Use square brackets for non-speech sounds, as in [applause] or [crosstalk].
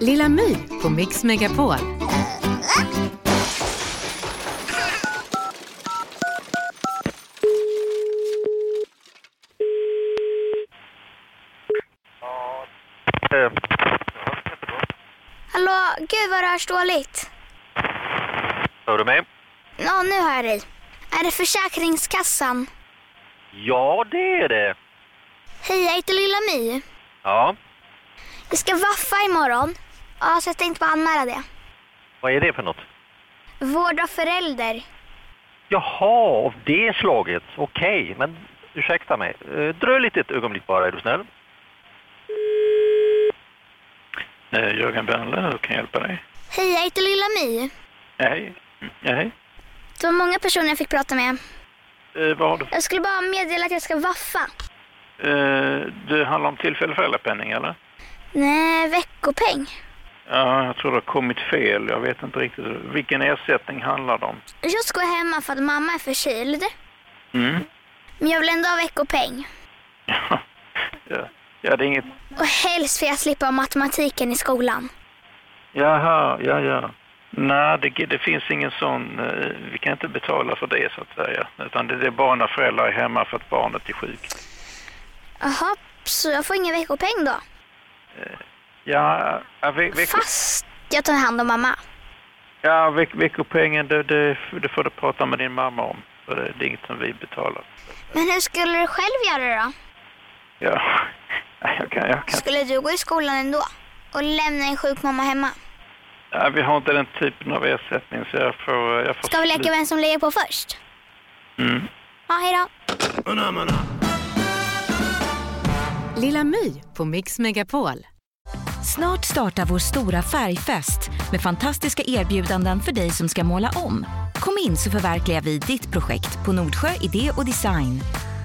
Lilla My på Mix Megapol. Eh, Hallå, gud vad det hörs dåligt. Hör du mig? Ja, nu hör jag dig. Är det Försäkringskassan? Ja, det är det. Hej, jag heter Lilla My. Ja, Vi ska vaffa imorgon. Ja, så jag tänkte bara anmäla det. vad är det för något? Vård av förälder. Jaha, av det slaget. Okej, men ursäkta mig. Eh, Dröj lite ett ögonblick bara, är du snäll. Eh, Jörgen Bernlöv hur kan jag hjälpa dig. Hej, jag heter Lilla My. Nej, nej. Det var många personer jag fick prata med. Eh, vad har du? Jag skulle bara meddela att jag ska vaffa. Eh, det handlar om tillfällig föräldrapenning eller? Nej, veckopeng. Ja, jag tror det har kommit fel. Jag vet inte riktigt. Vilken ersättning handlar det om? Jag ska gå hemma för att mamma är förkyld. Mm. Men jag vill ändå ha veckopeng. [laughs] Ja, ja, ja, det är inget... Och helst får jag slippa matematiken i skolan. Jaha, ja, ja. Nej, det, det finns ingen sån... eh, Vi kan inte betala för det så att säga. Utan det, det är bara när föräldrar är hemma för att barnet är sjukt. Jaha, så jag får ingen veckopeng då? Ja, ja, ve, ve, Fast jag tar hand om mamma. ja ve, veckopengen det, det, det får du prata med din mamma om. För det, det är inget som vi betalar. Men hur skulle du själv göra då? Ja, [laughs] jag kan, jag kan. Skulle du gå i skolan ändå? Och lämna en sjuk mamma hemma? Ja, vi har inte den typen av ersättning så jag får... eh, Jag får Ska vi leka vem som lägger på först? Mm. Ja, hejdå. Lilla My på Mix Megapol. Snart startar vår stora färgfest med fantastiska erbjudanden för dig som ska måla om. Kom in så förverkligar vi ditt projekt på Nordsjö Idé och Design.